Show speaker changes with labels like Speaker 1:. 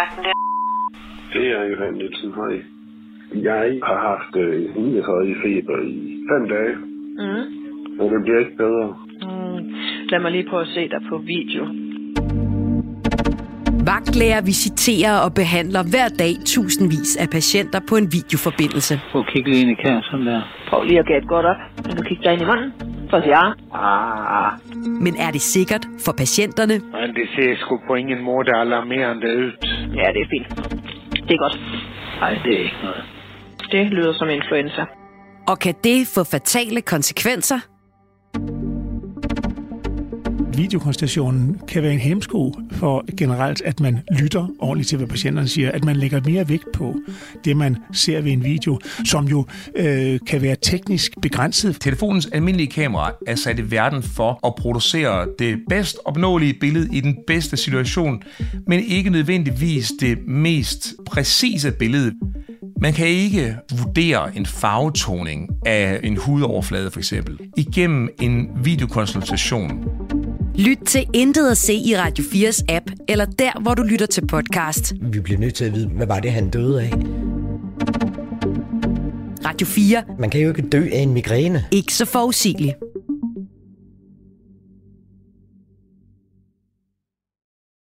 Speaker 1: Resten der.
Speaker 2: Det er Johan Nielsen, hej. Jeg har haft øh, 39 feber i fem dage,
Speaker 3: Mm.
Speaker 2: men det bliver ikke bedre.
Speaker 3: Mm. Lad mig lige prøve at se dig på video.
Speaker 4: Vagtlæger visiterer og behandler hver dag tusindvis af patienter på en videoforbindelse.
Speaker 5: Prøv at kigge lige ind i kæren, sådan der.
Speaker 3: Prøv lige at gætte godt op. Kan du kigge dig ind i munden? For at sige, ah.
Speaker 5: Ah,
Speaker 4: Men er det sikkert for patienterne?
Speaker 6: Men det ser sgu på ingen måde alarmerende ud.
Speaker 3: ja, det er fint. Det er godt.
Speaker 5: nej, det er ikke noget.
Speaker 3: Det lyder som influenza.
Speaker 4: Og kan det få fatale konsekvenser?
Speaker 7: videokonstationen kan være en hemsko for generelt, at man lytter ordentligt til, hvad patienterne siger, at man lægger mere vægt på det, man ser ved en video, som jo øh, kan være teknisk begrænset.
Speaker 8: Telefonens almindelige kamera er sat i verden for at producere det bedst opnåelige billede i den bedste situation, men ikke nødvendigvis det mest præcise billede. Man kan ikke vurdere en farvetoning af en hudoverflade for eksempel igennem en videokonsultation.
Speaker 4: Lyt til Intet at se i Radio 4's app, eller der, hvor du lytter til podcast.
Speaker 9: Vi bliver nødt til at vide, hvad var det, han døde af?
Speaker 4: Radio 4.
Speaker 9: Man kan jo ikke dø af en migræne.
Speaker 4: Ikke så forudsigelig.